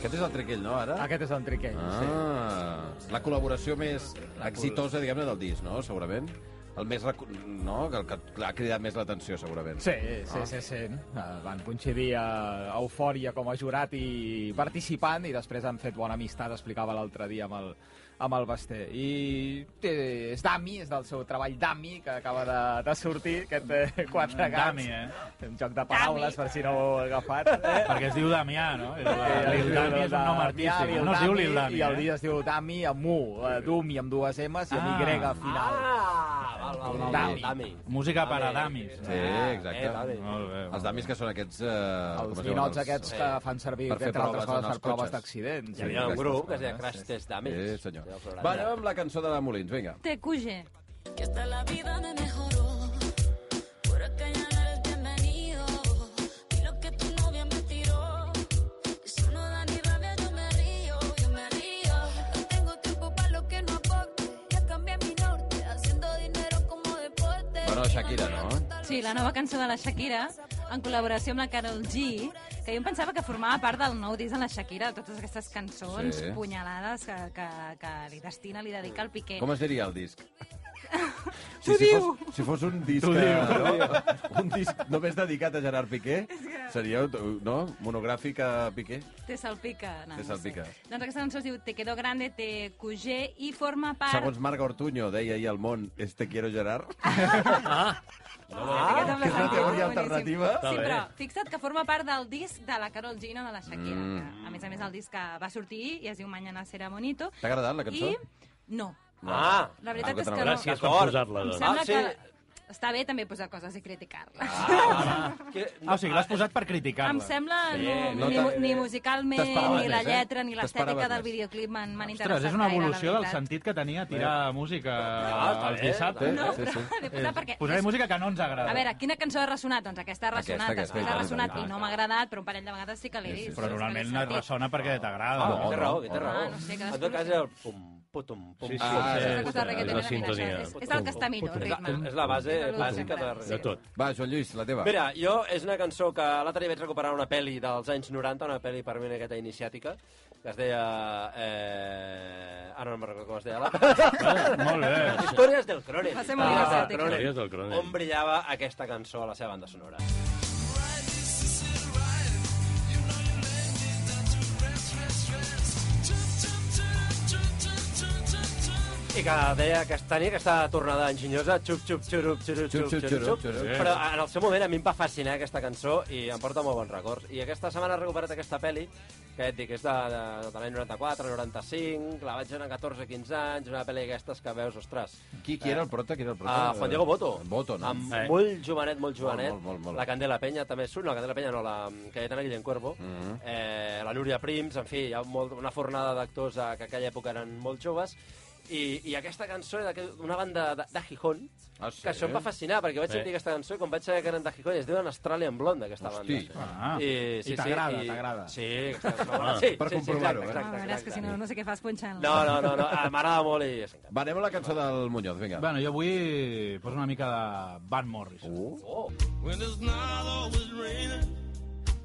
S2: Aquest és el triquell, no,
S6: Ah,
S2: ara?
S7: Aquest és en Triquell, sí.
S2: Ah, la col·laboració més exitosa, diguem-ne, del disc, no?, segurament. El més... Recu... No? El que ha cridat més l'atenció, segurament.
S7: Sí, sí, sí, sí. Eh, Van coincidir eh, a Eufòria com a jurat i participant i després han fet bona amistat, explicava l'altre dia amb el, amb el Basté. I té, és Dami, és del seu treball Dami, que acaba de, de sortir, aquest eh, quatre gats.
S6: Dami, eh?
S7: Un joc de paraules, per si no ho heu agafat. Eh?
S6: Perquè es diu Damià, no? El,
S7: Eh,
S6: Lil Ah, Dami és un nom artístic.
S7: Lil
S6: No es diu
S7: Dami,
S6: Lil Dami,
S7: I el
S6: eh?
S7: dia es diu Dami amb U, eh, Dumi amb dues M's i amb Y
S6: Ah.
S7: al final.
S5: Ah, val, val, val.
S7: Dami. Ah,
S5: Dami.
S6: Música per a
S5: Dami.
S6: damis.
S2: Sí, exacte.
S5: Eh, Dami.
S6: Molt Ah, bé.
S2: Els damis que són aquests... Eh, com es
S7: els
S2: diuen,
S7: ninots aquests
S2: Sí.
S7: que fan servir,
S2: Per fer
S7: entre altres
S2: proves
S7: coses,
S2: en
S7: per
S2: els
S7: proves
S2: cotxes.
S7: d'accidents.
S5: Hi havia un
S2: Sí,
S5: grup
S2: aquestes
S5: que es deia
S7: coses,
S5: Crash
S7: sí.
S5: Test Dummies.
S2: Sí, senyor.
S5: Del programa.
S2: Va, anem amb la cançó de la Molins, vinga.
S4: Te cuye.
S8: Que hasta la vida me mejoró. Por acá ya no eres bienvenido. Y lo que tu novia me tiró. Eso no da ni rabia, yo me río, yo me río. No tengo tiempo para lo que no aporte. Ya cambié mi norte, haciendo dinero como deporte.
S2: Bueno, Shakira, no?
S4: Sí, la nova cançó de la Shakira, en col·laboració amb la Carol G, que jo em pensava que formava part del nou disc de la Shakira, totes aquestes cançons
S2: Sí.
S4: sí. punyalades que, que, que li destina, li dedica el Piqué.
S2: Com es diria el disc?
S4: T'ho
S2: si
S4: diu!
S2: Fos, si fos un disc, eh, no? un disc només dedicat a Gerard Piqué, seria no? monogràfic a Piqué.
S4: Te salpica. No,
S2: Te salpica.
S4: No sé. Doncs aquesta cançó es diu Te quedo grande, te cugé, i forma part...
S2: Segons Marc Ortuño, deia ahir al món, este quiero Gerard.
S4: Ah,
S2: que és una teoria alternativa.
S4: Sí,
S1: Està bé.
S4: però fixa't que forma part del disc de la Carol Gino de la Shakira. Mm. Que, a més a més, el disc que va sortir i es diu Mañana será bonito.
S2: T'ha agradat la cançó?
S4: I... No.
S5: Ah,
S4: La veritat
S2: Ah,
S4: és que no.
S1: Gràcies per
S5: D'acord.
S1: posar-la,
S4: Em
S1: doncs.
S4: sembla
S5: Ah, sí.
S4: que... Està bé també posar coses i criticar-les.
S5: que,
S6: Ah, o sigui, l'has posat per criticar-la.
S4: Em sembla
S5: Sí,
S4: no,
S2: no
S4: ni,
S2: t'ha-
S4: ni musicalment,
S2: t'esperaves
S4: ni la
S2: més, eh?
S4: lletra, ni l'estètica
S2: T'esperaves
S4: del
S2: més.
S4: videoclip m'han m'han interessat
S6: Ostres, és una
S4: gaire, la
S6: evolució del
S4: veritat.
S6: sentit que tenia tirar música
S5: està
S6: els
S5: bé,
S6: dissabtes.
S4: No,
S2: Sí,
S4: però
S2: sí.
S4: l'he posat perquè...
S6: Posaré música que no ens agrada.
S4: A veure, quina cançó ha ressonat? Doncs aquesta ha
S2: Aquesta,
S4: ressonat,
S2: aquesta,
S4: aquesta, aquesta,
S2: clar,
S4: ha ressonat
S2: clar,
S4: i no
S2: clar.
S4: m'ha agradat, però un parell de vegades sí que
S2: Sí,
S4: l'he
S2: sí,
S4: vist.
S2: però
S6: Però
S4: sí que l'he
S6: normalment no
S4: sentit.
S6: ressona perquè t'agrada.
S5: Ah,
S2: no,
S5: té
S2: no,
S5: raó, que té
S2: no.
S5: raó.
S4: Ah, no sé, cadascú
S5: en tot
S4: no
S5: cas,
S4: sé.
S5: era el pum, putum, pum.
S1: Sí, sí,
S2: Ah,
S1: sí,
S2: és
S1: sí,
S2: una cosa
S1: sí,
S4: reggaetonera, mira,
S1: la sintonia.
S4: això. És- és el que està millor, el ritme.
S5: És la base
S4: Sí,
S5: bàsica de,
S4: sí.
S1: De tot.
S2: Va, Joan Lluís, la teva.
S5: Mira, jo és una cançó que l'altre dia vaig recuperar una pel·li dels anys 90, una pel·li per mi una miqueta iniciàtica, que es deia... Eh... Ara no me'n recordo com es deia. La...
S6: Molt bé.
S5: Històries del Ah. Cronen.
S4: Va ser molt iniciàtica.
S1: Històries del Cronen.
S5: On brillava aquesta cançó a la seva banda sonora. I que deia que tenia aquesta tornada enginyosa, xup, xup, xurup, xurup,
S2: Xup, xup,
S5: xup, xurup,
S2: xurup,
S5: xurup,
S2: xurup.
S5: Però en el seu moment a mi em va fascinar aquesta cançó i em porta molt bons records. I aquesta setmana he recuperat aquesta pel·li, que ja et dic, és de, de, de l'any 94, 95, la vaig veure amb 14-15 anys, una pel·li d'aquestes que veus, ostres,
S2: Qui, qui era el prota? Qui era el prota?
S5: Ah, Juan Diego Boto.
S2: eh, Boto, no?
S5: Amb molt jovenet, molt jovenet.
S2: Molt, molt, molt, molt.
S5: La Candela Penya també surt, no, la Candela Penya no, la Cayetana Guillem Cuervo,
S2: Mm-hmm.
S5: eh, la Núria Prims, en fi, hi ha molt, una fornada d'actors eh, que a aquella època eren molt joves, i, i aquesta cançó era d'aquell- d'una banda de, de Gijón,
S2: Ah, sí?
S5: que això em va fascinar, perquè vaig
S1: Bé.
S5: sentir aquesta cançó i quan vaig saber que eren de Gijón es diuen Australian Blonde, aquesta
S2: Hosti.
S5: banda.
S6: Ah.
S5: I, sí,
S7: t'agrada,
S5: sí, i-
S7: t'agrada.
S5: Sí, aquesta cançó. sí,
S2: Per
S5: sí, sí,
S2: comprovar-ho, eh?
S5: exacte, exacte,
S4: Home, a veure, Ah, és que si no, no sé què fas punxant.
S5: No, no, no, no, ah, m'agrada molt i...
S2: Va, anem a la cançó del Muñoz, vinga.
S6: Bueno, jo avui poso una mica de Van Morris.
S2: Uh,
S5: Oh,
S9: When it's not always raining,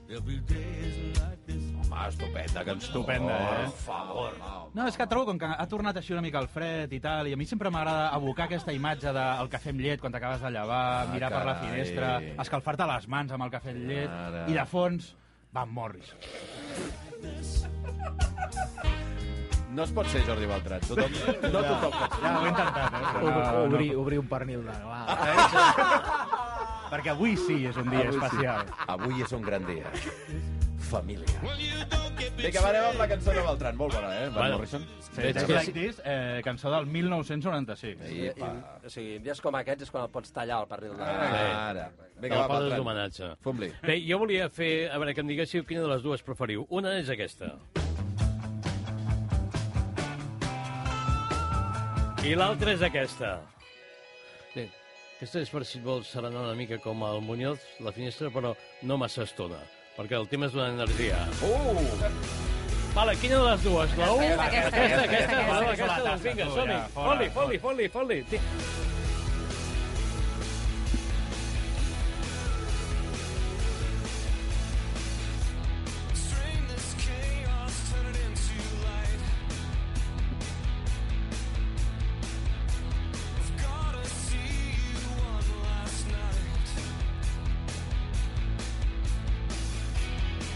S9: there'll be days like this.
S2: home, estupenda cançó.
S6: Estupenda, eh?
S5: per favor.
S6: No, és que trobo com que ha tornat així una mica el fred i tal, i a mi sempre m'agrada abocar aquesta imatge del cafè amb llet quan t'acabes de llevar,
S2: Ah,
S6: mirar per la
S2: carai.
S6: finestra, escalfar-te les mans amb el cafè amb llet,
S2: Ara.
S6: i de fons, Van Morris.
S2: No es pot ser Jordi Beltran. Tothom, no tothom pot ser.
S6: Ja, ho he intentat, eh? Però no, no,
S7: Obrir, obrir un pernil de... Va.
S6: perquè avui sí és un dia especial.
S2: Avui és un gran dia. Família.
S9: Well, you don't get me
S2: Vinga, va, anem amb la cançó de Beltran. Molt bona, eh? Van
S1: Bueno.
S2: Morrison.
S6: Sí, Just Like This, eh, cançó del 1996.
S5: I, o sigui, dies com aquests és quan el pots tallar el pernil
S2: Ah.
S5: de...
S2: Ara. Vinga,
S1: Te'l
S2: va,
S1: poses
S2: Beltran.
S1: d'homenatge.
S2: Fum-li.
S1: Bé, jo volia fer... A veure, que em diguéssiu quina de les dues preferiu. Una és aquesta. I l'altra és aquesta. Bé, aquesta és per si et vols serenar una mica com el Muñoz, la finestra, però no massa estona, perquè el tema és d'una energia. Uh! Vale, quina de les dues? La u?
S4: Aquesta, aquesta, aquesta,
S1: aquesta,
S4: aquesta,
S6: aquesta.
S1: vale, aquesta, doncs vinga,
S6: Tu, ja,
S1: som-hi.
S6: fora,
S1: Foli, foli, foli, foli. Té-
S9: string this chaos, turn it into light. I've gotta see you one last night.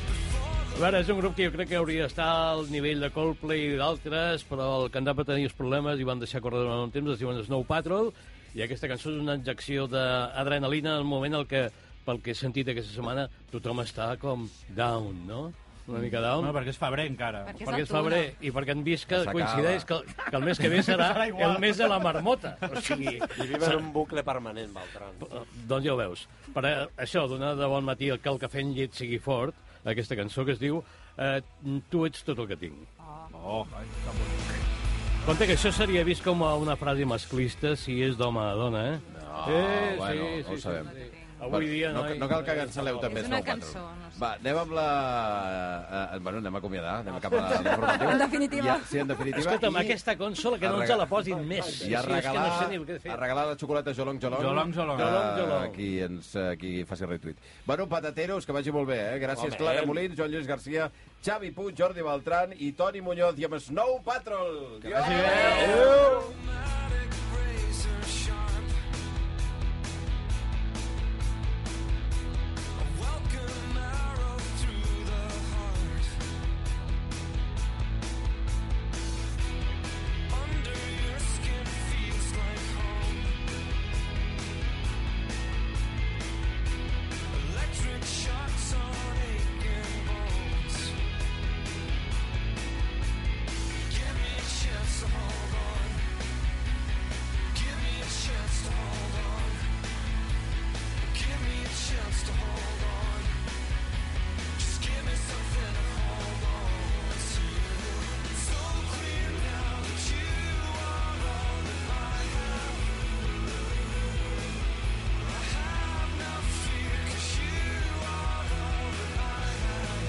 S9: Before the
S1: A veure, és un grup que jo crec que hauria d'estar al nivell de Coldplay i d'altres, però el que anava a tenir els problemes i van deixar córrer durant un temps, es diuen Snow Patrol, i aquesta cançó és una injecció d'adrenalina en el moment en què, pel que he sentit aquesta setmana, tothom està com down, no? Una mica down.
S6: No, perquè és febrer encara.
S4: Perquè és
S1: perquè és
S4: l'altura.
S1: febrer i perquè han vist que
S2: S'acaba.
S1: coincideix que, que el mes que ve serà
S6: Serà igual.
S1: el mes de la marmota. O sigui,
S5: I viu en un bucle permanent, Beltran.
S1: Eh, doncs ja ho veus. Per eh, això, donar de bon matí que el cafè en llet sigui fort, aquesta cançó que es diu eh, Tu ets tot el que tinc. Oh. oh. Compte que això seria vist com a una frase masclista si és d'home a dona, eh? No, eh,
S2: Ah, bueno, no ho sabem.
S1: Avui dia,
S2: no,
S1: noi...
S2: no cal que cancel·leu també
S4: És
S2: Snow
S4: una
S2: Patrol.
S4: cançó, no sé.
S2: Va, anem amb la... eh, bueno, anem a acomiadar, anem cap a l'informatiu.
S4: En definitiva.
S2: Ja, sí, en definitiva.
S1: Escolta'm,
S2: i-
S1: aquesta consola que
S2: A
S1: no ens
S2: regalar-
S1: la posin més.
S2: I a
S1: Sí, és que
S2: regalar,
S1: no sé ni què fer.
S2: a regalar la xocolata Jolong Jolong.
S6: Jolong Jolong.
S2: Que,
S1: Jolong Jolong.
S2: Qui, ens, eh, qui faci retweet. Bueno, patateros, que vagi molt bé, eh? Gràcies,
S5: Home.
S2: Clara Molins, Joan Lluís Garcia, Xavi Puig, Jordi Beltran i Toni Muñoz. I amb Snow Patrol. Que vagi bé. Adéu.
S9: Automatic razor sharp. A welcome arrow through the heart. Under your skin feels like home. Electric shocks on aching bones. Give me a chance to hold on. Give me a chance to hold on. Give me a chance to hold on. Just give me something to hold on to. It's so clear now that you are all that I have. I have no fear 'cause you are all that I have.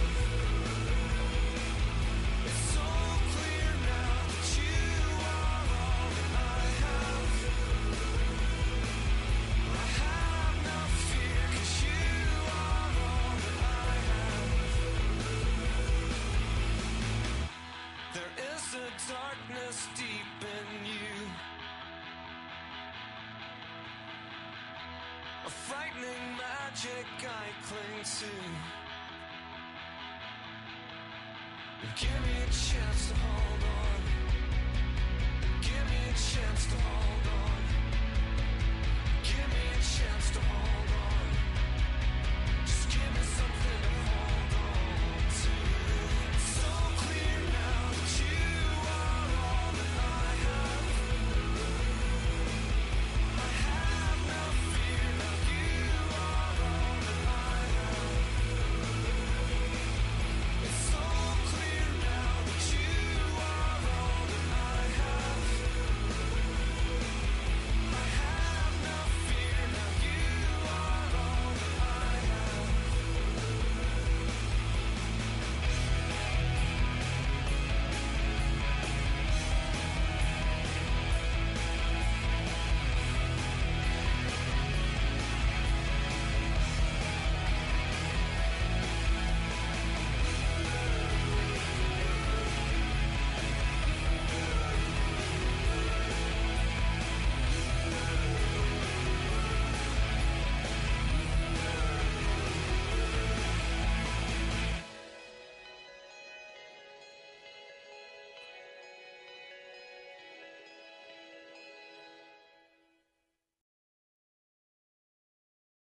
S9: It's so clear now that you are all that I have. I have no fear 'cause you are all that I have. There is a darkness deep in you. A frightening magic I cling to. Give me a chance to hold on. Give me a chance to hold on.